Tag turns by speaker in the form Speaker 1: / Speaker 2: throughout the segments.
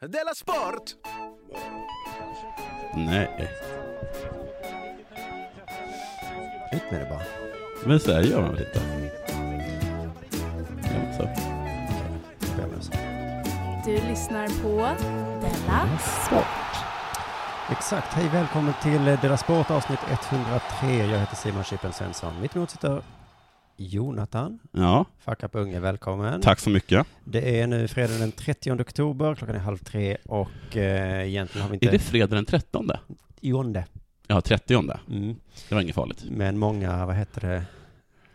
Speaker 1: Della Sport!
Speaker 2: Nej,
Speaker 3: Ut med det bara.
Speaker 2: men så här gör man väl inte? Ja, men så.
Speaker 3: Spelar det så.
Speaker 4: Du lyssnar på Della
Speaker 3: Sport. Exakt. Hej, välkommen till eh, Dela Sport avsnitt 103. Jag heter Simon Chippen Svensson. Mitt emot sitter Jonathan.
Speaker 2: Ja,
Speaker 3: Fuck up unge, välkommen.
Speaker 2: tack så mycket.
Speaker 3: Det är nu fredag den 30 oktober, klockan är halv tre och eh, egentligen har vi
Speaker 2: Är det
Speaker 3: inte...
Speaker 2: fredag den 13?
Speaker 3: Jonde.
Speaker 2: Ja, 30.
Speaker 3: Mm.
Speaker 2: Det var inget farligt.
Speaker 3: Men många, vad heter det,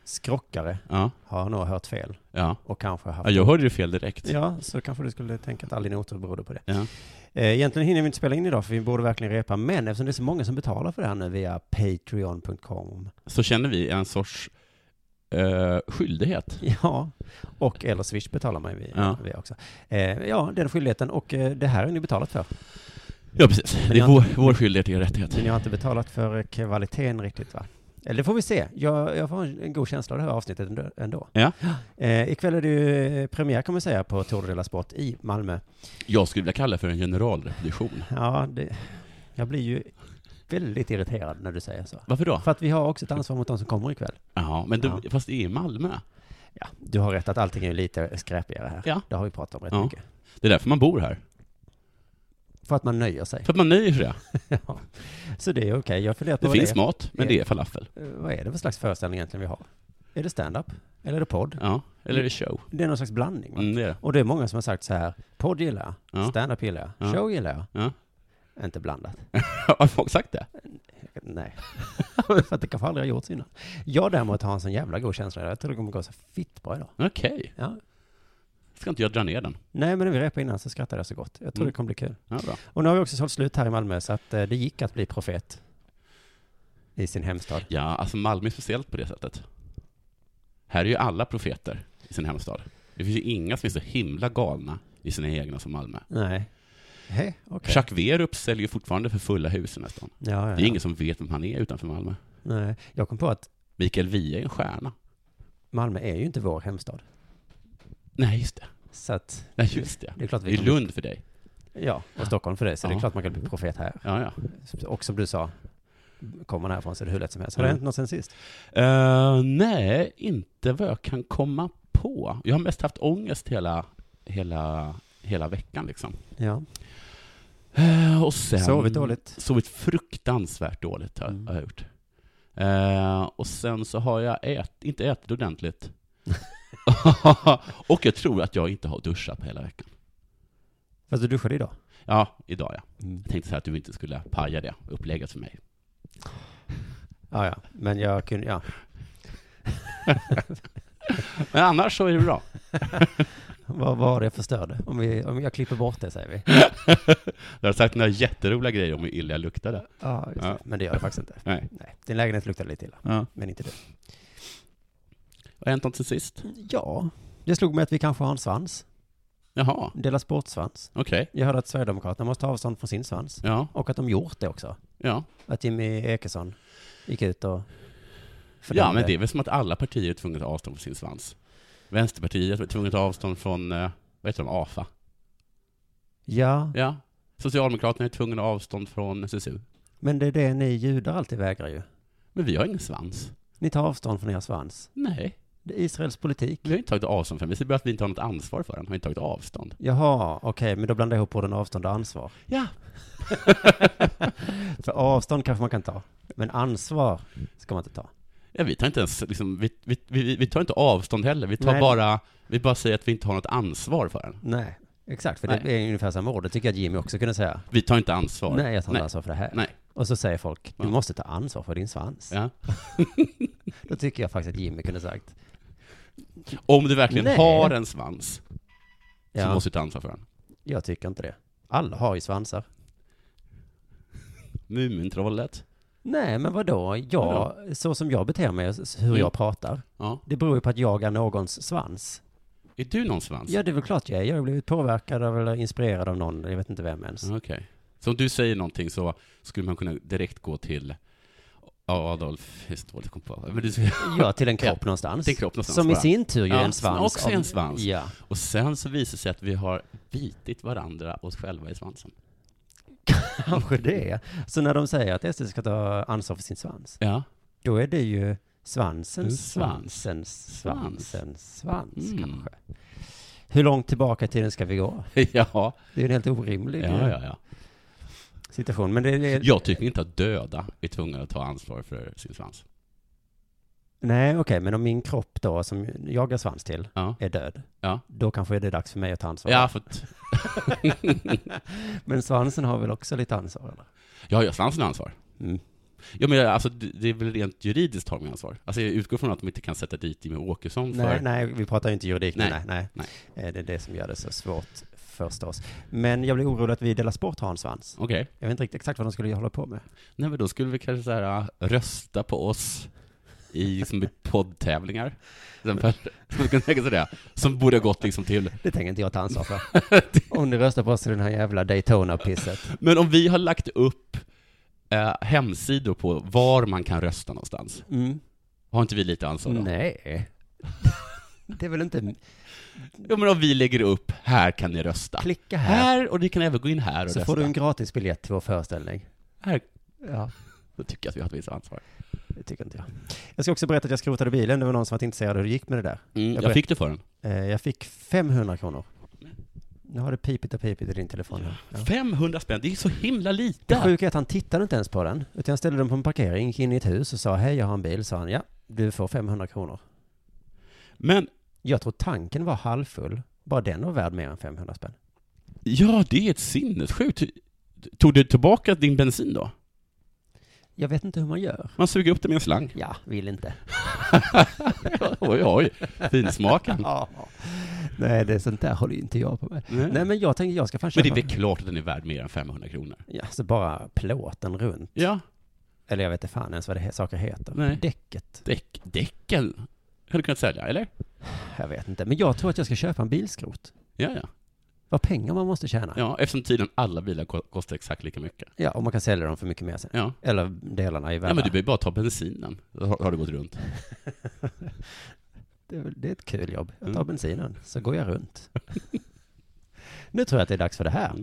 Speaker 3: skrockare
Speaker 2: Ja,
Speaker 3: har nog hört fel
Speaker 2: ja.
Speaker 3: och kanske haft...
Speaker 2: ja jag hörde ju fel direkt.
Speaker 3: Ja, så kanske du skulle tänka att all din otur berodde på det.
Speaker 2: Ja.
Speaker 3: Eh, Egentligen hinner vi inte spela in idag för vi borde verkligen repa, men eftersom det är så många som betalar för det här nu via patreon.com,
Speaker 2: Så känner vi en sorts eh, skyldighet.
Speaker 3: ja, och eller swish betalar man ju via,
Speaker 2: Ja.
Speaker 3: via också. Eh, Ja, den skyldigheten och eh, det här är ni betalat för.
Speaker 2: Ja, precis. Det är
Speaker 3: jag-
Speaker 2: vår, vår skyldighet är rättighet.
Speaker 3: Men ni har inte betalat för kvaliteten riktigt va? Eller det får vi se. Jag, jag får en god känsla av det här avsnittet ändå- ändå.
Speaker 2: Ja.
Speaker 3: Eh, ikväll är det ju eh, premiär kan man säga på Tour de la Sport i Malmö.
Speaker 2: Jag skulle vilja kalla det för en generalrepetition.
Speaker 3: Ja, det, jag blir ju väldigt irriterad när du säger så.
Speaker 2: Varför då?
Speaker 3: För att vi har också ett ansvar mot de som kommer ikväll.
Speaker 2: Ja, men du,
Speaker 3: Ja.
Speaker 2: fast det är i Malmö.
Speaker 3: Ja, du har rätt att allting är lite skräpigare här.
Speaker 2: Ja.
Speaker 3: Det har vi pratat om rätt
Speaker 2: Ja.
Speaker 3: mycket.
Speaker 2: Det är därför man bor här.
Speaker 3: För att man nöjer sig.
Speaker 2: För att man nöjer sig.
Speaker 3: Ja. Så det är okej. Jag funderar på
Speaker 2: Det
Speaker 3: vad
Speaker 2: finns
Speaker 3: det är.
Speaker 2: mat, men det är falafel.
Speaker 3: Eh, Vad är det för slags föreställning egentligen vi har? Är det stand-up? Eller är det podd?
Speaker 2: Ja, eller är det show?
Speaker 3: Det är någon slags blandning va?
Speaker 2: Mm, det är det.
Speaker 3: Och det är många som har sagt så här, podd gillar jag,
Speaker 2: Ja.
Speaker 3: stand-up gillar jag,
Speaker 2: Ja.
Speaker 3: show gillar jag.
Speaker 2: Ja.
Speaker 3: Inte blandat.
Speaker 2: Har folk sagt det?
Speaker 3: Nej. För att det kanske aldrig har gjorts innan. Jag däremot har en sån jävla god känsla. Jag tror det kommer gå så fitt bra idag.
Speaker 2: Okej.
Speaker 3: Ja.
Speaker 2: Ska inte jag dra ner den?
Speaker 3: Nej, men när vi repade innan så skrattade jag så gott. Jag tror
Speaker 2: Mm.
Speaker 3: det kommer bli kul.
Speaker 2: Ja, bra.
Speaker 3: Och nu har vi också sålt slut här i Malmö, så att eh, det gick att bli profet i sin hemstad.
Speaker 2: Ja, alltså Malmö är speciellt på det sättet. Här är ju alla profeter i sin hemstad. Det finns ju inga som är så himla galna i sina egna som Malmö.
Speaker 3: Nej. Hej, okej.
Speaker 2: Jacques Werup säljer ju fortfarande för fulla hus i nästan.
Speaker 3: Ja, ja, ja.
Speaker 2: Det är ingen som vet vem han är utanför Malmö.
Speaker 3: Nej, jag kom på att
Speaker 2: Mikael Wiehe är en stjärna.
Speaker 3: Malmö är ju inte vår hemstad.
Speaker 2: Nej, just det.
Speaker 3: Så att,
Speaker 2: Nej, just det.
Speaker 3: det är klart
Speaker 2: Det
Speaker 3: vi
Speaker 2: är Lund för dig.
Speaker 3: Ja, och Stockholm för dig, så det är
Speaker 2: Ja.
Speaker 3: klart man kan bli profet här.
Speaker 2: Ja, ja.
Speaker 3: Och som du sa, kommer man härifrån så är det hur lätt som helst. Har det
Speaker 2: Mm.
Speaker 3: hänt något sen sist?
Speaker 2: Eh, nej, inte vad jag kan komma på. Jag har mest haft ångest hela, hela, hela veckan liksom.
Speaker 3: Ja.
Speaker 2: Eh, och sen...
Speaker 3: Sovit dåligt?
Speaker 2: Sovit fruktansvärt dåligt har,
Speaker 3: Mm.
Speaker 2: har jag gjort. Eh, och sen så har jag ät, inte ätit ordentligt. och jag tror att jag inte har duschat på hela veckan.
Speaker 3: Fast du duschade idag?
Speaker 2: Ja, idag ja. Jag tänkte så här att du inte skulle paja det upplägget för mig.
Speaker 3: Ja, ja, men jag kunde, ja.
Speaker 2: Men annars så är det bra.
Speaker 3: Vad var det jag förstörde? Om, vi, om jag klipper bort det, säger vi.
Speaker 2: Du har sagt några jätteroliga grejer om hur illa jag luktade.
Speaker 3: Ja, just det.
Speaker 2: Ja.
Speaker 3: Men det gör det faktiskt inte.
Speaker 2: Nej.
Speaker 3: Nej, din lägenhet luktade lite illa,
Speaker 2: Ja.
Speaker 3: men inte du.
Speaker 2: Vad har hänt något sen sist?
Speaker 3: Ja, det slog mig att vi kanske har en svans.
Speaker 2: Jaha,
Speaker 3: Dela sportsvans.
Speaker 2: okej.
Speaker 3: Jag hörde att Sverigedemokraterna måste ta avstånd från sin svans.
Speaker 2: Ja,
Speaker 3: Och att de gjort det också.
Speaker 2: ja.
Speaker 3: Att Jimmy Ekesson gick ut och
Speaker 2: Ja, men det är väl som att alla partier är tvungna att ta avstånd från sin svans. Vänsterpartiet är tvungna att ta avstånd från, eh, vad heter de, AFA?
Speaker 3: Ja,
Speaker 2: Ja. Socialdemokraterna är tvungna att ta avstånd från SSU.
Speaker 3: men det är det ni judar alltid vägrar ju.
Speaker 2: Men vi har ingen svans.
Speaker 3: Ni tar avstånd från er svans.
Speaker 2: Nej,
Speaker 3: Det är Israels politik.
Speaker 2: vi har inte tagit avstånd från den. Vi säger bara att vi inte har något ansvar för den. Har inte tagit avstånd.
Speaker 3: Jaha, okej, men då blandar jag ihop orden avstånd och ansvar.
Speaker 2: Ja,
Speaker 3: För avstånd kanske man kan ta, men ansvar ska man inte ta.
Speaker 2: ja vi tar inte ens, liksom, vi, vi, vi, vi tar inte avstånd heller. Vi tar
Speaker 3: Nej.
Speaker 2: bara, vi bara säger att vi inte har något ansvar för den.
Speaker 3: Nej, exakt, för det
Speaker 2: Nej.
Speaker 3: är ungefär samma ord. Det tycker jag att Jimmy också kunde säga.
Speaker 2: Vi tar inte ansvar.
Speaker 3: Nej, jag tar inte ansvar för det här.
Speaker 2: Nej.
Speaker 3: Och så säger folk, du
Speaker 2: Ja.
Speaker 3: måste ta ansvar för din svans.
Speaker 2: Ja.
Speaker 3: Då tycker jag faktiskt att Jimmy kunde sagt.
Speaker 2: Om du verkligen
Speaker 3: Nej.
Speaker 2: har en svans, så
Speaker 3: Ja,
Speaker 2: måste du ta ansvar för den.
Speaker 3: jag tycker inte det. Alla har ju svansar.
Speaker 2: Mumintrollet.
Speaker 3: Nej, men vadå? Jag,
Speaker 2: Vadå?
Speaker 3: så som jag beter mig, s- hur
Speaker 2: Mm.
Speaker 3: jag pratar,
Speaker 2: Ja.
Speaker 3: det beror ju på att jag är någons svans.
Speaker 2: Är du någon svans?
Speaker 3: Ja, det är väl klart jag är. Jag har blivit påverkad av eller inspirerad av någon, jag vet inte vem ens.
Speaker 2: Okej. Så om du säger någonting så skulle man kunna direkt gå till Ja, Adolf Hitler kom på. Men du,
Speaker 3: Ja, till en kropp någonstans.
Speaker 2: Till en kropp någonstans,
Speaker 3: Som i
Speaker 2: bara.
Speaker 3: sin tur ju
Speaker 2: Ja,
Speaker 3: är en svans.
Speaker 2: som också är
Speaker 3: av-
Speaker 2: en svans.
Speaker 3: Ja.
Speaker 2: och sen så visar det sig att vi har bitit varandra oss själva i svansen.
Speaker 3: Kanske det. Så när de säger att SD ska ta ansvar för sin svans,
Speaker 2: Ja.
Speaker 3: då är det ju
Speaker 2: En
Speaker 3: svansens
Speaker 2: svans.
Speaker 3: svansens
Speaker 2: Svans.
Speaker 3: svansens svans
Speaker 2: Mm.
Speaker 3: kanske. Hur långt tillbaka i tiden ska vi gå?
Speaker 2: ja.
Speaker 3: Det är en helt orimlig eh,
Speaker 2: Ja, ja, ja.
Speaker 3: situation. Men det är...
Speaker 2: Jag tycker inte att döda är tvungna att ta ansvar för sin svans.
Speaker 3: Nej, okej, men om min kropp då, som jag har svans till,
Speaker 2: Ja.
Speaker 3: är död,
Speaker 2: Ja.
Speaker 3: då kanske det är dags för mig att ta ansvar.
Speaker 2: Ja, för att,
Speaker 3: Men svansen har väl också lite ansvar? Eller?
Speaker 2: ja, ja, svansen har ansvar.
Speaker 3: Mm.
Speaker 2: Ja, men alltså, det det är väl rent juridiskt har man ansvar. Alltså, jag utgår från att de inte kan sätta dit Jimmie Åkesson Mm, för...
Speaker 3: Nej, nej, vi pratar ju inte juridik. Nej. Nej,
Speaker 2: Nej.
Speaker 3: nej. Eh, Det är det som gör det så svårt förstås. Men jag blir orolig att vi delar sport har en svans.
Speaker 2: Okej.
Speaker 3: Jag vet inte riktigt exakt vad de skulle hålla på med.
Speaker 2: Nej, men då skulle vi kanske så här, ah, rösta på oss i liksom, i poddtävlingar. Till exempel. Man kan tänka sig det. Som borde ha gått liksom till...
Speaker 3: Det tänker inte jag ta ansvar för. Om ni röstar på oss i den här jävla Daytona-pisset.
Speaker 2: Men om vi har lagt upp eh, hemsidor på var man kan rösta någonstans,
Speaker 3: Mm.
Speaker 2: har inte vi lite ansvar då?
Speaker 3: Nej. Mm. Det är väl inte...
Speaker 2: Jo, men om vi lägger upp, här kan ni rösta.
Speaker 3: Klicka här,
Speaker 2: Här, och ni kan även gå in här och
Speaker 3: så
Speaker 2: rösta.
Speaker 3: får du en gratis biljett till vår föreställning.
Speaker 2: Här,
Speaker 3: Ja,
Speaker 2: då tycker jag att vi har ett visst ansvar.
Speaker 3: det tycker inte jag. Jag ska också berätta att jag skrotade bilen. Det var någon som var intresserad av hur det gick med det där.
Speaker 2: Mm, jag,
Speaker 3: Jag ber-
Speaker 2: fick det för den.
Speaker 3: Eh, Jag fick 500 kronor. Nu har det pipit och pipit i din telefon. här. Ja.
Speaker 2: 500 spänn, det är så himla
Speaker 3: Det
Speaker 2: lite!
Speaker 3: sjuka är att han tittade inte ens på den, utan jag ställde den på en parkering, gick in i ett hus och sa hej jag har en bil, sa han ja, du får 500 kronor.
Speaker 2: Men,
Speaker 3: Jag tror tanken var halvfull, bara den var värd mer än 500 spänn.
Speaker 2: ja, det är ett sinnessjukt. Tog du tillbaka din bensin då?
Speaker 3: Jag vet inte hur man gör.
Speaker 2: Man suger upp det med en slang.
Speaker 3: Ja, vill inte.
Speaker 2: Oj, oj, finsmaken.
Speaker 3: Ja. Nej, det är sånt där håller ju inte jag på med.
Speaker 2: Nej.
Speaker 3: Nej, men jag tänker jag ska fan
Speaker 2: Men
Speaker 3: köpa.
Speaker 2: det är väl klart att den är värd mer än 500 kronor?
Speaker 3: Ja, så bara plåten runt.
Speaker 2: Ja,
Speaker 3: Eller jag vet inte fan ens vad det he- saker heter.
Speaker 2: Nej.
Speaker 3: Däcket.
Speaker 2: däck, däcken hade du kunnat sälja, eller?
Speaker 3: Jag vet inte. Men jag tror att jag ska köpa en bilskrot.
Speaker 2: Ja, ja.
Speaker 3: Vad pengar man måste tjäna.
Speaker 2: ja eftersom tydligen alla bilar ko- kostar exakt lika mycket.
Speaker 3: Ja, och man kan sälja dem för mycket mer sen.
Speaker 2: Ja.
Speaker 3: Eller delarna i
Speaker 2: Ja, men
Speaker 3: världen.
Speaker 2: du behöver bara ta bensinen, då har har du gått runt.
Speaker 3: Det är, väl- det är ett kul jobb. Jag tar
Speaker 2: Mm.
Speaker 3: bensinen, så går jag runt. nu tror jag att det är dags för det här.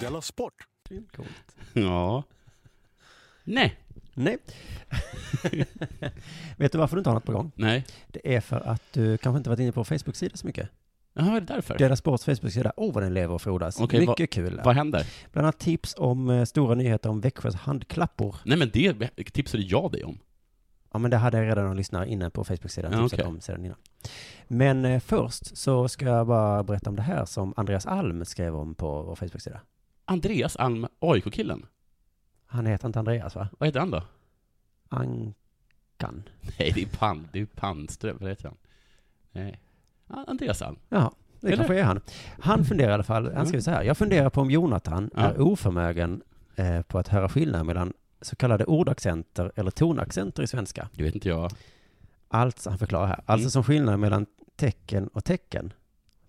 Speaker 1: Della Sport!
Speaker 2: Mm.
Speaker 3: Coolt.
Speaker 2: Ja. Nej.
Speaker 3: Nej. Vet du varför du inte har något på gång?
Speaker 2: Nej.
Speaker 3: Det är för att du kanske inte varit inne på vår Facebook-sida så mycket.
Speaker 2: Jaha, är det därför?
Speaker 3: Dela Sports Facebook-sida, åh oh, vad den lever och frodas.
Speaker 2: Äh. Okej,
Speaker 3: mycket kul. där.
Speaker 2: Vad händer?
Speaker 3: Bland annat tips om eh, stora nyheter om Växjös handklappor.
Speaker 2: Nej men det tipsade jag dig om.
Speaker 3: Ja, men det hade jag redan någon lyssnare inne på Facebook-sidan
Speaker 2: Ja,
Speaker 3: tipsat
Speaker 2: okej.
Speaker 3: om sedan innan. Men eh, först så ska jag bara berätta om det här som Andreas Alm skrev om på vår Facebook-sida.
Speaker 2: Andreas Alm, AIK-killen.
Speaker 3: Han heter inte Andreas va?
Speaker 2: Vad heter han då?
Speaker 3: Ankan.
Speaker 2: Nej, det är Pan, det är Pandström. Vad heter han? Nej. Ja, Andreas Alm.
Speaker 3: Ja, det
Speaker 2: Eller?
Speaker 3: kanske är han. Han funderar i alla fall, han
Speaker 2: Mm.
Speaker 3: skriver så här, jag funderar på om Jonathan
Speaker 2: Ja.
Speaker 3: är oförmögen eh, på att höra skillnad mellan så kallade ordaccenter eller tonaccenter i svenska.
Speaker 2: Det vet inte jag.
Speaker 3: Alltså, han förklarar här, alltså
Speaker 2: Mm.
Speaker 3: som skillnad mellan tecken och tecken.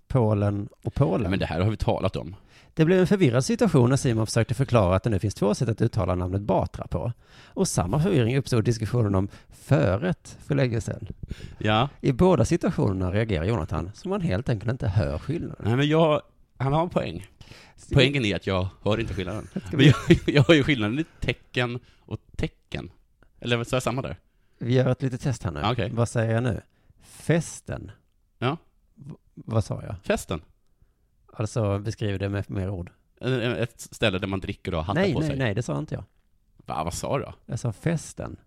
Speaker 3: Polen och Polen.
Speaker 2: Men det här har vi talat om.
Speaker 3: Det blev en förvirrad situation när Simon försökte förklara att det nu finns två sätt att uttala namnet Batra på. Och samma förvirring uppstod i diskussionen om föret för länge sedan.
Speaker 2: Ja.
Speaker 3: I båda situationerna reagerar Jonathan som han helt enkelt inte hör skillnaden.
Speaker 2: Nej men jag, han har en poäng. Poängen är att jag hör inte skillnaden. Men
Speaker 3: vi-
Speaker 2: jag, jag hör ju skillnaden i tecken och tecken. Eller så är jag samma där?
Speaker 3: Vi gör ett litet test här nu.
Speaker 2: Ja, okej.
Speaker 3: Vad säger jag nu? Festen.
Speaker 2: Ja.
Speaker 3: V- vad sa jag?
Speaker 2: Festen.
Speaker 3: Alltså beskriv det med mer ord.
Speaker 2: Eh, Ett ställe där man dricker och har hattar
Speaker 3: nej,
Speaker 2: på
Speaker 3: nej,
Speaker 2: sig.
Speaker 3: nej, det sa inte jag.
Speaker 2: Va, vad sa du då?
Speaker 3: Jag sa festen.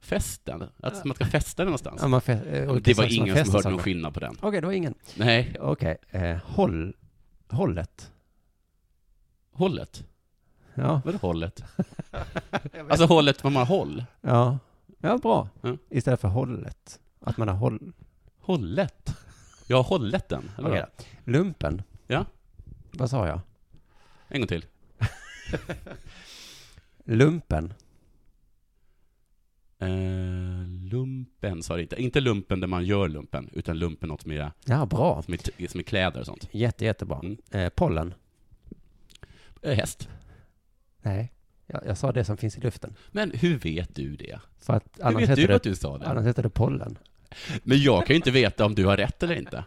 Speaker 2: Festen? Att man ska festa någonstans?
Speaker 3: Ja, man fe- eh, olika
Speaker 2: Alltså, det var
Speaker 3: saker
Speaker 2: ingen
Speaker 3: festar
Speaker 2: som hörde någon
Speaker 3: saker.
Speaker 2: skillnad på den.
Speaker 3: Okej, det var ingen.
Speaker 2: Nej,
Speaker 3: Okej, eh, håll, hållet.
Speaker 2: hållet.
Speaker 3: Ja,
Speaker 2: Vadå hållet? alltså hållet, vad man har håll.
Speaker 3: ja, ja bra.
Speaker 2: Ja.
Speaker 3: Istället för hållet. Att man har håll.
Speaker 2: Hållet? Jag har hållet den. Eller
Speaker 3: Okej
Speaker 2: vadå?
Speaker 3: då. Lumpen.
Speaker 2: Ja.
Speaker 3: Vad sa jag?
Speaker 2: En gång till.
Speaker 3: Lumpen.
Speaker 2: Eh, lumpen sa det inte. Inte lumpen där man gör lumpen, utan lumpen något som är,
Speaker 3: Ja, bra.
Speaker 2: som är, t- som är kläder och sånt.
Speaker 3: Jätte, jättebra.
Speaker 2: Mm.
Speaker 3: Eh, pollen?
Speaker 2: Eh, häst.
Speaker 3: Nej, jag, jag sa det som finns i luften.
Speaker 2: Men hur vet du det?
Speaker 3: För att
Speaker 2: Hur
Speaker 3: annars
Speaker 2: vet du
Speaker 3: heter, det,
Speaker 2: att du sa det?
Speaker 3: annars heter det pollen.
Speaker 2: Men jag kan ju inte veta om du har rätt eller inte.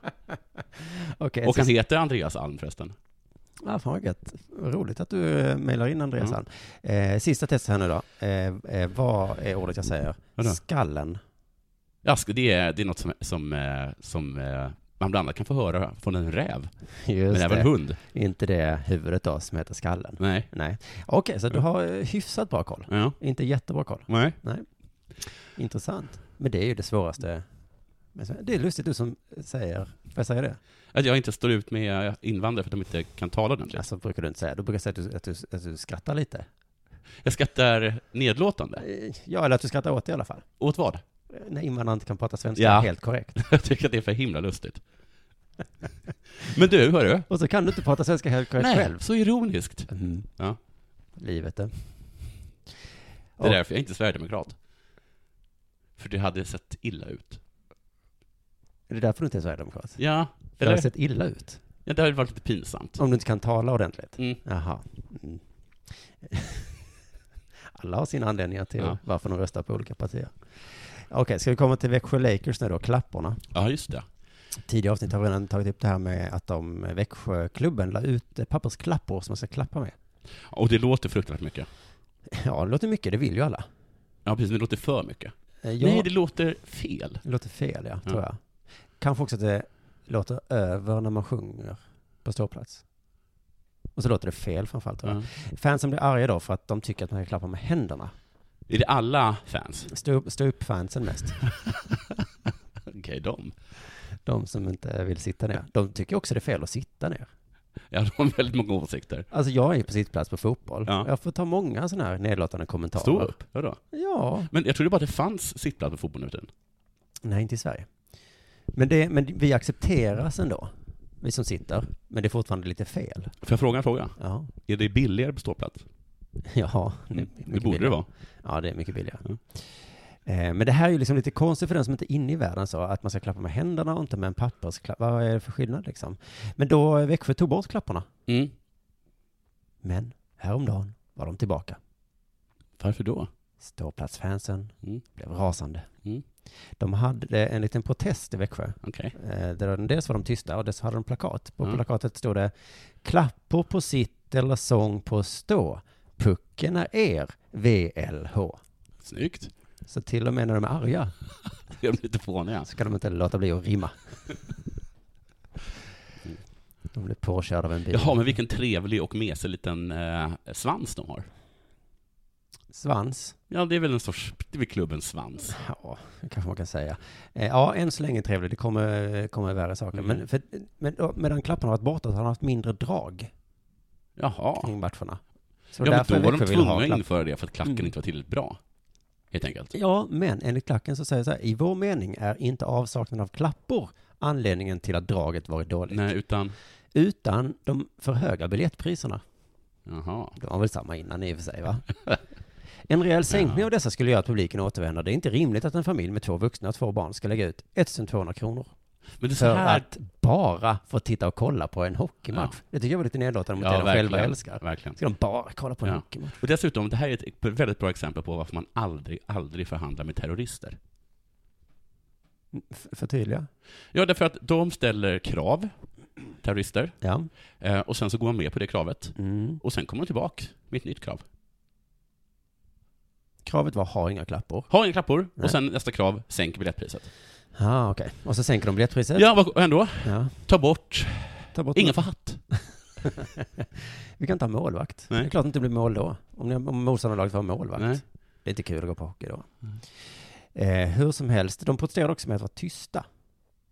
Speaker 3: Okej,
Speaker 2: Och
Speaker 3: okay,
Speaker 2: han heter Andreas Alm förresten.
Speaker 3: ah, fan vad gött. Vad Roligt att du eh, mejlar in Andreas
Speaker 2: Ja.
Speaker 3: Alm.
Speaker 2: Mm.
Speaker 3: eh, Sista testet här nu då. Eh, eh, vad är ordet jag säger?
Speaker 2: Vadå?
Speaker 3: Skallen.
Speaker 2: Ja, ska- det är, det är något som, som, eh, som eh, man bland annat kan få höra från en räv,
Speaker 3: Just
Speaker 2: men även
Speaker 3: det.
Speaker 2: hund.
Speaker 3: Inte det huvudet då som heter skallen.
Speaker 2: Nej.
Speaker 3: Nej. Okej, så du har eh, hyfsat bra koll.
Speaker 2: Ja.
Speaker 3: Inte jättebra koll.
Speaker 2: Nej.
Speaker 3: Intressant. Men det är ju det svåraste. Men så- Det är lustigt du som säger, får jag säga det?
Speaker 2: Att jag inte står ut med invandrare för att de inte kan tala ordentligt.
Speaker 3: Alltså brukar du inte säga, du brukar säga att du, att du, att du skrattar lite.
Speaker 2: Jag skrattar nedlåtande.
Speaker 3: Eh, Ja, eller att du skrattar åt det i alla fall.
Speaker 2: Åt vad?
Speaker 3: Eh, När invandrare inte kan prata svenska
Speaker 2: Ja.
Speaker 3: helt korrekt.
Speaker 2: Jag tycker att det är för himla lustigt. Men du, hörru.
Speaker 3: Och så kan du inte prata svenska helt korrekt
Speaker 2: Nej,
Speaker 3: själv.
Speaker 2: så ironiskt.
Speaker 3: Mm.
Speaker 2: Ja.
Speaker 3: Livet eh. det.
Speaker 2: Det är därför jag inte är sverigedemokrat. För det hade sett illa ut.
Speaker 3: Är det därför du inte är sverigedemokrat?
Speaker 2: Ja,
Speaker 3: För det har
Speaker 2: eller?
Speaker 3: sett illa ut.
Speaker 2: Ja, det hade varit lite pinsamt.
Speaker 3: Om du inte kan tala ordentligt.
Speaker 2: Mm.
Speaker 3: Jaha. Mm. Alla har sina anledningar till
Speaker 2: Ja.
Speaker 3: varför de röstar på olika partier. Okej, ska vi komma till Växjö Lakers nu då, klapporna.
Speaker 2: Ja, just det.
Speaker 3: Tidigare avsnitt har vi redan tagit upp det här med att de eh, Växjöklubben la ut eh, pappersklappor som man ska klappa med.
Speaker 2: Och det låter fruktansvärt mycket.
Speaker 3: Ja, det låter mycket, det vill ju alla.
Speaker 2: Ja, precis, men det låter för mycket.
Speaker 3: Eh, Jag,
Speaker 2: Nej, det låter fel.
Speaker 3: det låter fel, ja, tror jag. Kanske också att det låter över när man sjunger på ståplats. Och så låter det fel framförallt, tror jag.
Speaker 2: Ja.
Speaker 3: Fansen blir arga då för att de tycker att man kan klappa med händerna.
Speaker 2: Är det alla fans?
Speaker 3: Stå upp, stå upp fansen mest.
Speaker 2: Okej, de.
Speaker 3: De som inte vill sitta ner. De tycker också det är fel att sitta ner.
Speaker 2: Ja, de har väldigt många åsikter.
Speaker 3: Alltså jag är på sittplats på fotboll.
Speaker 2: Ja.
Speaker 3: Jag får ta många sådana här nedlåtande kommentarer.
Speaker 2: Stå upp. Vadå?
Speaker 3: Ja.
Speaker 2: Men jag trodde bara att det fanns sittplats på fotboll nu för tiden.
Speaker 3: Nej, inte i Sverige. Men, det, men vi accepteras ändå, vi som sitter. Men det är fortfarande lite fel.
Speaker 2: Får jag fråga en fråga?
Speaker 3: Ja.
Speaker 2: Är det billigare på ståplats?
Speaker 3: Jaha. Det, är Mm, mycket
Speaker 2: Mm. Det borde det
Speaker 3: billigare.
Speaker 2: vara. Mm.
Speaker 3: Ja, det är mycket billigare.
Speaker 2: Ja.
Speaker 3: Eh, Men det här är ju liksom lite konstigt för den som inte är inne i världen så, att man ska klappa med händerna och inte med en pappersklapp. Vad är det för skillnad liksom? Men då eh, Växjö tog bort klapparna.
Speaker 2: Mm.
Speaker 3: Men häromdagen var de tillbaka.
Speaker 2: Varför då?
Speaker 3: Ståplatsfansen
Speaker 2: Mm.
Speaker 3: blev rasande.
Speaker 2: Mm.
Speaker 3: De hade en liten protest i Växjö.
Speaker 2: Okej.
Speaker 3: Eh, Där de- dels var de tysta och dels hade de plakat. På
Speaker 2: Ja.
Speaker 3: plakatet stod det Klappor på sitt eller sång på stå. Pucken är er, VLH.
Speaker 2: Snyggt.
Speaker 3: Så till och med när de är arga
Speaker 2: Jag blir lite fånig. alltså.
Speaker 3: så kan de inte låta bli att rimma. De blev påkörda av en bil.
Speaker 2: Jaha, men vilken trevlig och mesig liten eh, svans de har.
Speaker 3: Svans?
Speaker 2: Ja, det är väl en sorts, det är väl klubbens svans.
Speaker 3: Ja, det kanske man kan säga. Eh, Ja, än så länge trevligt. Det kommer, kommer värre saker.
Speaker 2: Mm.
Speaker 3: Men, för, men då, medan klapparna har varit borta så har de haft mindre drag.
Speaker 2: Jaha.
Speaker 3: kring matcherna. Så
Speaker 2: Ja, men
Speaker 3: därför
Speaker 2: då var
Speaker 3: Växjö
Speaker 2: de
Speaker 3: vill ha
Speaker 2: tvungna att
Speaker 3: klapp-
Speaker 2: införa det för att klacken
Speaker 3: Mm.
Speaker 2: inte var tillräckligt bra. Helt enkelt.
Speaker 3: Ja, men enligt klacken så säger det så här, i vår mening är inte avsaknaden av klappor anledningen till att draget varit dåligt,
Speaker 2: Nej, utan,
Speaker 3: utan de för höga biljettpriserna.
Speaker 2: jaha.
Speaker 3: Det var väl samma innan i och för sig, va? En rejäl sänkning
Speaker 2: Ja.
Speaker 3: av dessa skulle göra att publiken återvänder. Det är inte rimligt att en familj med två vuxna och två barn ska lägga ut 1200 kronor
Speaker 2: Men det är så
Speaker 3: för
Speaker 2: här...
Speaker 3: att bara få titta och kolla på en hockeymatch. Det tycker jag var lite nedlåtande mot det de själva älskar.
Speaker 2: verkligen.
Speaker 3: Ska de bara kolla på en
Speaker 2: Ja.
Speaker 3: hockeymatch?
Speaker 2: Och dessutom, det här är ett väldigt bra exempel på varför man aldrig, aldrig förhandlar med terrorister.
Speaker 3: F- Förtydliga.
Speaker 2: Ja, därför att de ställer krav, terrorister,
Speaker 3: Ja.
Speaker 2: eh, och sen så går man med på det kravet.
Speaker 3: Mm.
Speaker 2: Och sen kommer de tillbaka med ett nytt krav.
Speaker 3: Kravet var ha inga klappor.
Speaker 2: Ha inga klappor,
Speaker 3: Nej.
Speaker 2: och sen nästa krav, sänk biljettpriset.
Speaker 3: Ja, okej. Och så sänker de biljettpriset.
Speaker 2: Ja, vad och ändå?
Speaker 3: Ja.
Speaker 2: Ta bort,
Speaker 3: Ta bort
Speaker 2: ingen får hatt.
Speaker 3: Vi kan inte ha målvakt.
Speaker 2: Nej.
Speaker 3: Det är klart att det inte blir mål då. Om, ni- om motståndarlaget har målvakt.
Speaker 2: Nej.
Speaker 3: Det är inte kul att gå på hockey då. Eh, hur som helst, de protesterade också med att vara tysta.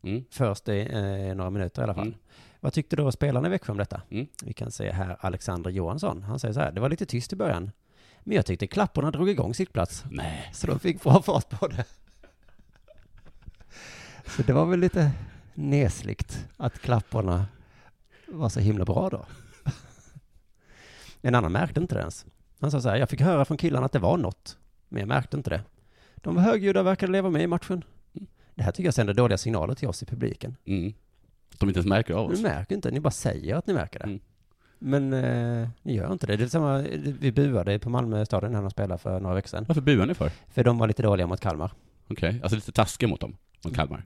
Speaker 2: Mm.
Speaker 3: Först i eh, några minuter i alla fall.
Speaker 2: Mm.
Speaker 3: Vad tyckte då spelarna i Växjö om detta?
Speaker 2: Mm.
Speaker 3: Vi kan se här Alexander Johansson. Han säger så här, det var lite tyst i början. Men jag tyckte klapporna drog igång sitt plats.
Speaker 2: Nej.
Speaker 3: Så de fick bra fart på det. Så det var väl lite nesligt att klapporna var så himla bra då. En annan märkte inte det ens. Han sa så här, jag fick höra från killarna att det var något, men jag märkte inte det. De var högljudda och verkade leva med i matchen. Det här tycker jag sänder dåliga signaler till oss i publiken.
Speaker 2: Mm. De inte ens märker av
Speaker 3: Ni
Speaker 2: oss.
Speaker 3: märker inte, ni bara säger att ni märker det.
Speaker 2: Mm.
Speaker 3: Men eh, ni gör inte det. Det är samma, vi buade på Malmö stadion när de spelade för några veckor sedan.
Speaker 2: Varför buar ni för?
Speaker 3: För de var lite dåliga mot Kalmar.
Speaker 2: Okej, alltså lite taskiga mot dem, mot Kalmar.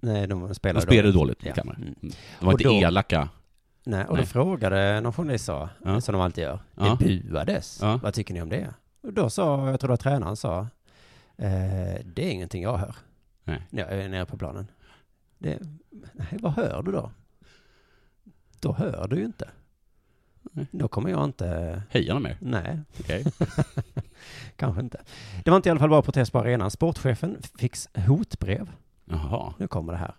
Speaker 3: Nej, de
Speaker 2: De
Speaker 3: spelade,
Speaker 2: spelade dåligt mot
Speaker 3: Ja.
Speaker 2: Kalmar.
Speaker 3: Mm.
Speaker 2: Mm. De var
Speaker 3: Och
Speaker 2: inte
Speaker 3: då-
Speaker 2: elaka.
Speaker 3: Nej, och
Speaker 2: Nej.
Speaker 3: då frågade någon journalist så,
Speaker 2: Ja.
Speaker 3: som de alltid gör.
Speaker 2: Ja.
Speaker 3: Det buades.
Speaker 2: Ja.
Speaker 3: Vad tycker ni om det? Och då sa, jag tror det var tränaren sa, eh, det är ingenting jag hör.
Speaker 2: Nej.
Speaker 3: När jag är nere på planen. Det, nej, vad hör du då? Då hör du ju inte.
Speaker 2: Nej.
Speaker 3: Då kommer jag inte,
Speaker 2: Heja dem mer.
Speaker 3: nej,
Speaker 2: Okej.
Speaker 3: kanske inte. Det var inte i alla fall bara protest på arenan. Sportchefen fick hotbrev.
Speaker 2: Jaha.
Speaker 3: Nu kommer det här.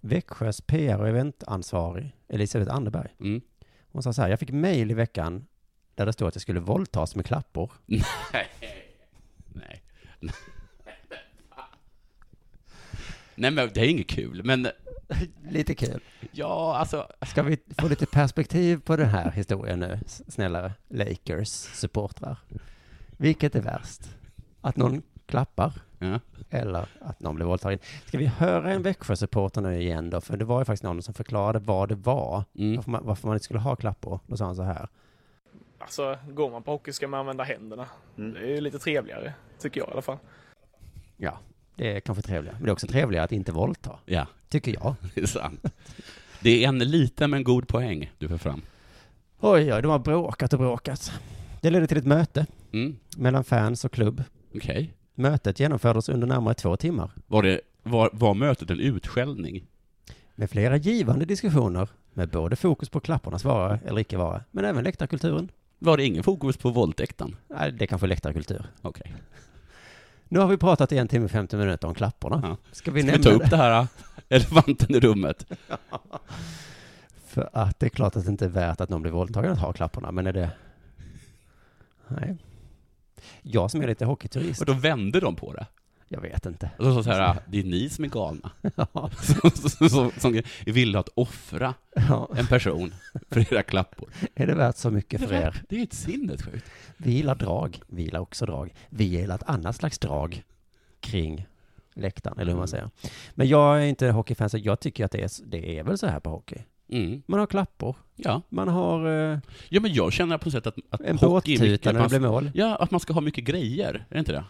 Speaker 3: Växjös PR och eventansvarig, Elisabeth Anderberg.
Speaker 2: Mm.
Speaker 3: Hon sa så här, jag fick mejl i veckan där det stod att jag skulle våldtas med klappor.
Speaker 2: Nej. Nej men det är inget kul, men
Speaker 3: Lite kul.
Speaker 2: ja, alltså.
Speaker 3: Ska vi få lite perspektiv på den här historien nu, s- snälla Lakers-supportrar? Vilket är värst? Att någon klappar
Speaker 2: Ja.
Speaker 3: eller att någon blir våldtagen? Ska vi höra en Växjö-supporter nu igen då? För det var ju faktiskt någon som förklarade vad det var,
Speaker 2: Mm.
Speaker 3: varför, man, varför man inte skulle ha klappor. Då sa han så här.
Speaker 5: Alltså, går man på hockey ska man använda händerna. Det är ju lite trevligare, tycker jag i alla fall.
Speaker 3: Ja, det är kanske trevligare. Men det är också trevligare att inte våldta,
Speaker 2: ja,
Speaker 3: tycker jag.
Speaker 2: det är sant. Det är en liten men god poäng du för fram.
Speaker 3: Oj, oj, de har bråkat och bråkat. Det ledde till ett möte
Speaker 2: Mm.
Speaker 3: mellan fans och klubb.
Speaker 2: Okej.
Speaker 3: Mötet genomfördes under närmare två timmar
Speaker 2: Var, det, var, var mötet en utskällning?
Speaker 3: med flera givande diskussioner med både fokus på klappornas vara eller icke vara, men även läktarkulturen.
Speaker 2: Var det ingen fokus på våldtäkten?
Speaker 3: Nej, det är kanske är läktarkultur.
Speaker 2: Okej.
Speaker 3: Nu har vi pratat i en timme och 50 minuter om klapporna.
Speaker 2: Ja.
Speaker 3: Ska vi
Speaker 2: Ska vi
Speaker 3: nämna
Speaker 2: ta upp
Speaker 3: det?
Speaker 2: det här äh, elefanten i rummet?
Speaker 3: För att det är klart att det inte är värt att någon blir våldtagen att ha klapporna, men är det... Nej. Jag som är lite hockeyturist,
Speaker 2: Och då vände de på det.
Speaker 3: jag vet inte.
Speaker 2: Och så sa så här, äh, det är ni som är galna. Som, som, som, som vill att offra
Speaker 3: Ja,
Speaker 2: en person för era klappor.
Speaker 3: är det värt så mycket för er?
Speaker 2: Det är ju ett sinnessjukt.
Speaker 3: Vi gillar drag. Vi gillar också drag. Vi gillar ett annat slags drag kring läktaren, eller hur
Speaker 2: Mm.
Speaker 3: man säger. Men jag är inte hockeyfan, så jag tycker att det är, det är väl så här på hockey.
Speaker 2: Mm.
Speaker 3: Man har klappor.
Speaker 2: Ja.
Speaker 3: Man har eh,
Speaker 2: ja, men jag känner på något sätt att, att
Speaker 3: en
Speaker 2: hockey är mycket
Speaker 3: båttuta
Speaker 2: att
Speaker 3: när
Speaker 2: man,
Speaker 3: det blir mål.
Speaker 2: Ja, att man ska ha mycket grejer, är det inte det?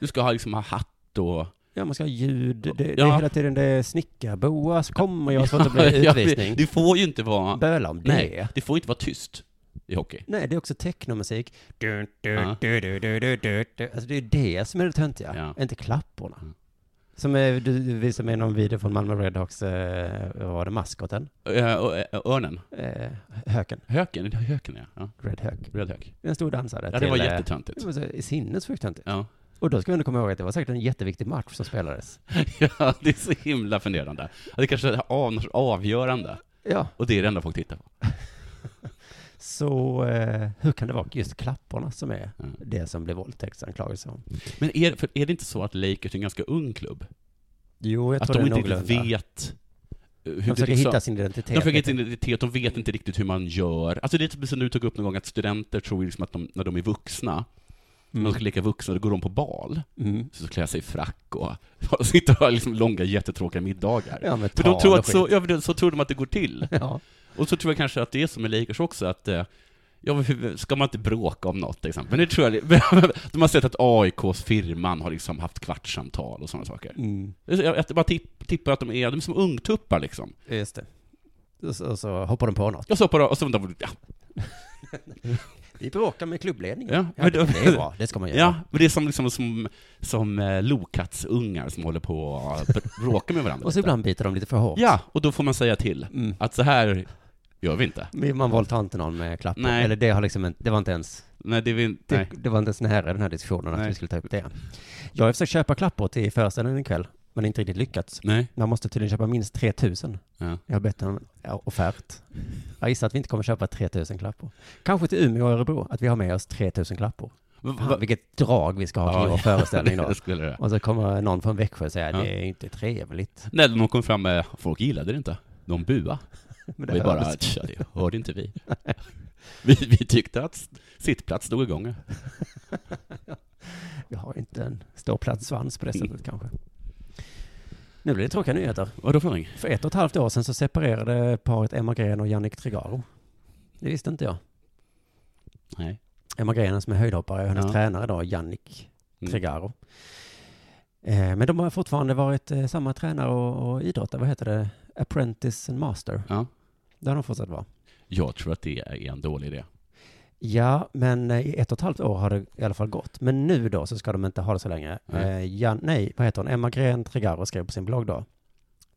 Speaker 2: Du ska ha, liksom, ha hatt och...
Speaker 3: Ja, man ska ha ljud. Det, det
Speaker 2: Ja.
Speaker 3: är hela tiden det är snickarboa. Så kommer jag så att det blir
Speaker 2: Ja,
Speaker 3: utvisning.
Speaker 2: Det får ju inte vara...
Speaker 3: Böla om det.
Speaker 2: Nej, det får inte vara tyst i hockey.
Speaker 3: Nej, det är också technomusik. Du, du,
Speaker 2: Ja.
Speaker 3: du, du, du, du, du, du. Alltså det är det som är det töntiga,
Speaker 2: Ja.
Speaker 3: inte klapporna.
Speaker 2: Mm.
Speaker 3: Som är, du du visade mig någon video från Malmö Redhawks, eh, vad var det, maskoten?
Speaker 2: Ö, ö, ö, örnen.
Speaker 3: Eh, höken,
Speaker 2: Höken, det är höken ja. ja.
Speaker 3: Red Hök.
Speaker 2: Röd hök.
Speaker 3: Den stod och dansade
Speaker 2: Ja, det var
Speaker 3: till, eh,
Speaker 2: jättetöntigt.
Speaker 3: det var så sinnessjukt töntigt.
Speaker 2: Ja.
Speaker 3: Och då ska vi ändå komma ihåg att det var säkert en jätteviktig match som spelades.
Speaker 2: ja, det är så himla funderande. Ja, Det kanske är av, något sorts avgörande,
Speaker 3: Ja,
Speaker 2: och det är det enda folk tittar på.
Speaker 3: så eh, hur kan det vara just klapporna som är
Speaker 2: Ja.
Speaker 3: det som blev våldtäktsanklagelse om?
Speaker 2: Men är, för är det inte så att Lakers är en ganska ung klubb?
Speaker 3: Jo, jag
Speaker 2: Att
Speaker 3: tror
Speaker 2: de
Speaker 3: det är
Speaker 2: inte riktigt
Speaker 3: någorlunda.
Speaker 2: vet eh, hur
Speaker 3: De försöker
Speaker 2: liksom-
Speaker 3: hitta sin identitet.
Speaker 2: De försöker hitta
Speaker 3: lite.
Speaker 2: sin identitet, de vet inte riktigt hur man gör. Alltså det är typ som du tog upp någon gång, att studenter tror ju liksom att de, när de är vuxna, när de ska leka vuxna, då går de på bal.
Speaker 3: Mm.
Speaker 2: Så klär sig i frack och och sitter och har liksom långa jättetråkiga middagar.
Speaker 3: Ja, med
Speaker 2: För de
Speaker 3: tal
Speaker 2: tror
Speaker 3: och
Speaker 2: att så,
Speaker 3: skit.
Speaker 2: ja, men så tror de att det går till.
Speaker 3: Ja.
Speaker 2: Och så tror jag kanske att det är som med Lakers också, att eh, Ja, men hur- ska man inte bråka om något till exempel? Men det tror jag, de har sett att AIKs firman har liksom haft kvartssamtal och sådana saker.
Speaker 3: Mm.
Speaker 2: Jag, jag bara tipp, tippar att de är, de är som ungtuppar liksom.
Speaker 3: Just det. Och så, och så hoppar de på något.
Speaker 2: Jag sa bara, och så de, ja,
Speaker 3: Vi bråkar med klubbledningen.
Speaker 2: Ja,
Speaker 3: Ja,
Speaker 2: men
Speaker 3: det,
Speaker 2: då-
Speaker 3: det är bra. Det ska man göra.
Speaker 2: Ja, men det är som, liksom, som, som eh, lokattsungar som håller på och bråkar med varandra.
Speaker 3: Och så
Speaker 2: lite.
Speaker 3: ibland biter de lite för hårt.
Speaker 2: Ja, och då får man säga till
Speaker 3: Mm.
Speaker 2: att så här gör vi inte.
Speaker 3: Men Man våldtar inte någon med klappar.
Speaker 2: Nej.
Speaker 3: Eller det har liksom inte, det var inte ens,
Speaker 2: Nej, det är vi inte.
Speaker 3: det,
Speaker 2: Nej.
Speaker 3: det var inte ens nära den här diskussionen att
Speaker 2: Nej.
Speaker 3: vi skulle ta upp det. Jag har försökt köpa klappor till föreställningen ikväll, men inte riktigt lyckats.
Speaker 2: Nej.
Speaker 3: Man måste tydligen köpa minst 3000.
Speaker 2: Ja.
Speaker 3: Jag har bett om en ja, offert. Jag gissar att vi inte kommer köpa 3000 klappor. Kanske till Umeå och Örebro, att vi har med oss 3000 klappor. Fan,
Speaker 2: Va-
Speaker 3: vilket drag vi ska ha till
Speaker 2: Ja.
Speaker 3: vår föreställning då.
Speaker 2: Jag skulle det.
Speaker 3: Och så kommer någon från Växjö och säga,
Speaker 2: Ja.
Speaker 3: det är inte trevligt.
Speaker 2: Nej, de kom fram med, folk gillade det inte. De bua.
Speaker 3: Men
Speaker 2: Vi bara, tja, det hörde inte vi. vi. Vi tyckte att sittplats stod igång.
Speaker 3: Jag har inte en ståplats svans på det
Speaker 2: Mm.
Speaker 3: sättet kanske. Nu blir det tråkiga nyheter.
Speaker 2: Vadå för någonting?
Speaker 3: För ett och ett halvt år sedan så separerade paret Emma Gren och Jannik Trigaro. Det visste inte jag.
Speaker 2: Nej.
Speaker 3: Emma Gren som är höjdhoppare och hennes
Speaker 2: Ja.
Speaker 3: tränare då, Jannik
Speaker 2: Mm.
Speaker 3: Trigaro. Eh, men de har fortfarande varit eh, samma tränare och, och idrottare. Vad heter det? Apprentice and master.
Speaker 2: Ja.
Speaker 3: Där har de fortsatt vara.
Speaker 2: Jag tror att det är en dålig idé.
Speaker 3: Ja, men eh, i ett och ett halvt år har det i alla fall gått. Men nu då så ska de inte ha det så länge.
Speaker 2: Nej.
Speaker 3: Eh, Jan, nej, vad heter hon? Emma Gren Trigaro skrev på sin blogg då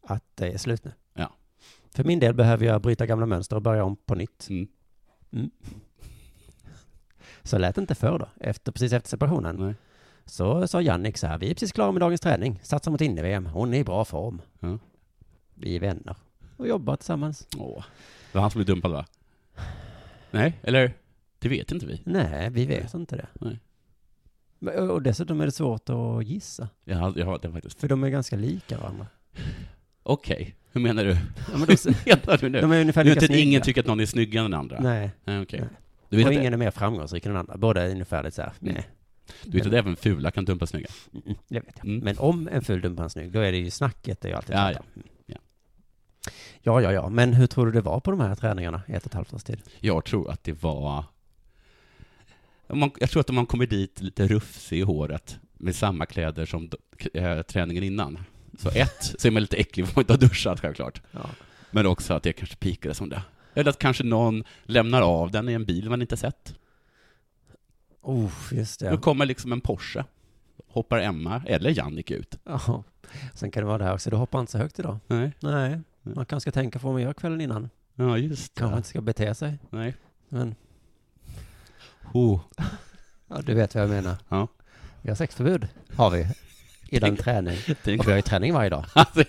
Speaker 3: att det är slut nu.
Speaker 2: Ja.
Speaker 3: För min del behöver jag bryta gamla mönster och börja om på nytt.
Speaker 2: Mm.
Speaker 3: Så lät det inte förr då. Efter, precis efter separationen
Speaker 2: Nej.
Speaker 3: så sa Jannik så här, vi är precis klara med dagens träning. Satsar mot inne-VM. Hon är i bra form.
Speaker 2: Ja.
Speaker 3: Vi är vänner. Och jobbar tillsammans.
Speaker 2: Åh. Det var han som blev dumpad va? Nej, eller? Det vet inte vi.
Speaker 3: Nej, vi vet inte det.
Speaker 2: Nej.
Speaker 3: Men- Och dessutom är det svårt att gissa.
Speaker 2: Jag har, jag har det faktiskt.
Speaker 3: För de är ganska lika varandra.
Speaker 2: Okej, hur menar du?
Speaker 3: Ja, men de,
Speaker 2: Menar du nu?
Speaker 3: de är ungefär
Speaker 2: Du
Speaker 3: lika
Speaker 2: vet att
Speaker 3: snygga.
Speaker 2: ingen tycker att någon är snyggare än den andra?
Speaker 3: Nej,
Speaker 2: Nej, okej.
Speaker 3: Nej.
Speaker 2: Du vet,
Speaker 3: och
Speaker 2: att,
Speaker 3: ingen är mer framgångsrik än den andra. Båda är ungefär lite så här,
Speaker 2: Mm.
Speaker 3: nej.
Speaker 2: du vet att även fula kan dumpa snygga?
Speaker 3: Mm, det vet jag.
Speaker 2: Mm.
Speaker 3: Men om en ful dumpar en snygg, då är det ju snacket det är ju alltid
Speaker 2: Ja,
Speaker 3: pratar om. Mm. ja, ja, ja. Men hur tror du det var på de här träningarna i ett och ett halvt års tid?
Speaker 2: Jag tror att det var... Om Man, jag tror att om man kommer dit lite rufsig i håret med samma kläder som d- k- eh, träningen innan. Så ett, så är man lite äcklig för man inte har duschat självklart.
Speaker 3: Ja.
Speaker 2: Men också att det kanske pikade som det. Eller att kanske någon lämnar av den i en bil man inte sett.
Speaker 3: Oh, just
Speaker 2: Då
Speaker 3: det.
Speaker 2: kommer liksom en Porsche. Hoppar Emma, eller Jannik ut.
Speaker 3: Ja. Sen kan det vara det här också, du hoppar inte så högt idag.
Speaker 2: Nej.
Speaker 3: Nej, man kanske ska tänka på vad man gör kvällen innan.
Speaker 2: Ja, just det.
Speaker 3: Kanske inte ska bete sig.
Speaker 2: Nej.
Speaker 3: Men
Speaker 2: Oh.
Speaker 3: ja, du vet vad jag menar.
Speaker 2: Ja.
Speaker 3: Vi har sexförbud, har vi. I den
Speaker 2: Tänk-
Speaker 3: träning.
Speaker 2: Tänk,
Speaker 3: Och vi har ju träning varje dag.
Speaker 2: Alltså,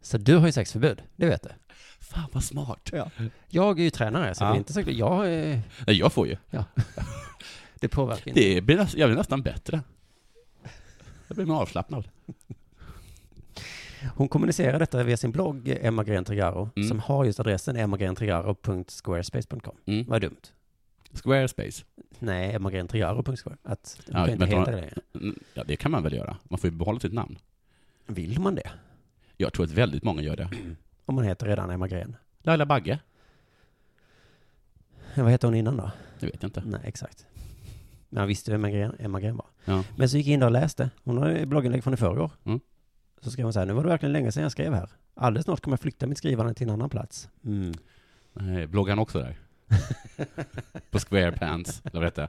Speaker 3: Så du har ju sexförbud, det vet du.
Speaker 2: fan vad smart.
Speaker 3: Jag är ju tränare, så
Speaker 2: Ja.
Speaker 3: det är inte så jag är,
Speaker 2: Nej, jag får ju.
Speaker 3: Det påverkar inte.
Speaker 2: Det blir, näs- jag blir nästan bättre. Jag blir mer avslappnad.
Speaker 3: Hon kommunicerar detta via sin blogg Emma Gren Trigaro,
Speaker 2: Mm.
Speaker 3: som har just adressen emmagrentrigaro.squarespace.com.
Speaker 2: Mm.
Speaker 3: Vad dumt.
Speaker 2: Squarespace.
Speaker 3: Nej, emmagrentrigaro.square. Att
Speaker 2: Ja,
Speaker 3: ja, kan inte
Speaker 2: men
Speaker 3: heta
Speaker 2: då-
Speaker 3: det längre.
Speaker 2: Mm, Ja, det kan man väl göra. Man får ju behålla sitt namn.
Speaker 3: Vill man det?
Speaker 2: Jag tror att väldigt många gör det.
Speaker 3: Om man heter redan Emma Gren.
Speaker 2: Laila Bagge?
Speaker 3: Men Vad hette hon innan då?
Speaker 2: Det vet jag inte.
Speaker 3: Nej, exakt. Men han visste vem Emma Gren, Emma Gren var.
Speaker 2: Ja.
Speaker 3: Men så gick jag in där och läste. Hon har ju blogginlägg från i förrgår.
Speaker 2: Mm.
Speaker 3: Så skrev hon så här, nu var det verkligen länge sedan jag skrev här. Alldeles snart kommer jag flytta mitt skrivande till en annan plats. Mm.
Speaker 2: Nej, Eh, Bloggar han också där? På Squarepants, eller vad det hette?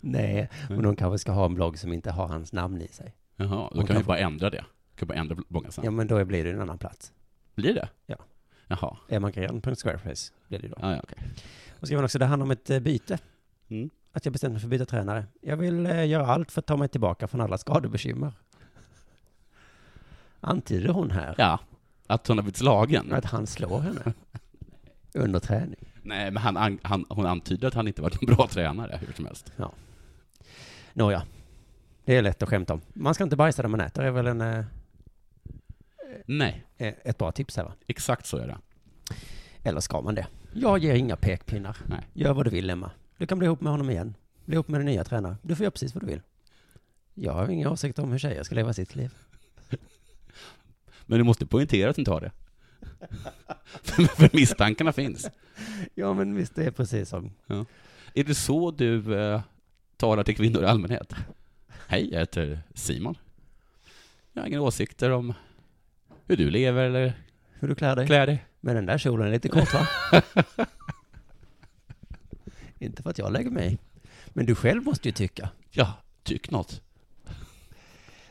Speaker 3: Nej,
Speaker 2: Mm.
Speaker 3: men hon kanske ska ha en blogg som inte har hans namn i sig.
Speaker 2: Jaha, då
Speaker 3: Hon
Speaker 2: kan vi
Speaker 3: kan
Speaker 2: bara ändra det. Kan bara ändra bloggen
Speaker 3: Ja,
Speaker 2: sen.
Speaker 3: men då blir det en annan plats.
Speaker 2: Blir det?
Speaker 3: Ja.
Speaker 2: Jaha,
Speaker 3: Emmagren.squarespace blir det ju då.
Speaker 2: ja, ja, okej.
Speaker 3: Och skrev hon också, det handlar om ett eh, byte.
Speaker 2: Mm.
Speaker 3: Att jag bestämde mig för att byta tränare. Jag vill eh, göra allt för att ta mig tillbaka från alla skadebekymmer. Antyder hon här
Speaker 2: Ja, att hon har blivit slagen?
Speaker 3: att han slår henne under träning?
Speaker 2: Nej, men han, an- han, hon antyder att han inte varit en bra tränare, hur som helst.
Speaker 3: Nåja, det är lätt att skämta om. Man ska inte bajsa när man äter, det är väl en, eh,
Speaker 2: Nej,
Speaker 3: ett bra tips här va?
Speaker 2: exakt så är det.
Speaker 3: Eller ska man det? Jag ger inga pekpinnar.
Speaker 2: Nej.
Speaker 3: Gör vad du vill, Emma. Du kan bli ihop med honom igen. Bli ihop med den nya tränaren. Du får göra precis vad du vill. Jag har inga åsikter om hur tjejer ska leva sitt liv.
Speaker 2: Men du måste poängtera att du inte har det. För misstankarna finns.
Speaker 3: Ja, men visst, det är precis som...
Speaker 2: Är det så du eh, talar till kvinnor i allmänhet? Hej, jag heter Simon. Jag har inga åsikter om hur du lever eller
Speaker 3: Hur du klär dig.
Speaker 2: klär dig.
Speaker 3: Men den där kjolen är lite kort, va? Inte för att jag lägger mig i. Men du själv måste ju tycka.
Speaker 2: Ja, tyck något.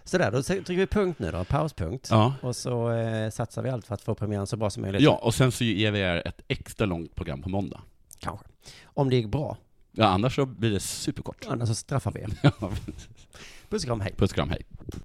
Speaker 3: Sådär, då trycker vi punkt nu då. Pauspunkt.
Speaker 2: Ja.
Speaker 3: Och så eh, satsar vi allt för att få premiären så bra som möjligt.
Speaker 2: ja, och sen så ger vi er ett extra långt program på måndag.
Speaker 3: Kanske. Om det gick bra.
Speaker 2: Ja, annars så blir det superkort.
Speaker 3: Annars så straffar vi er.
Speaker 2: Ja.
Speaker 3: Puss och kram, hej.
Speaker 2: Puss och kram, hej.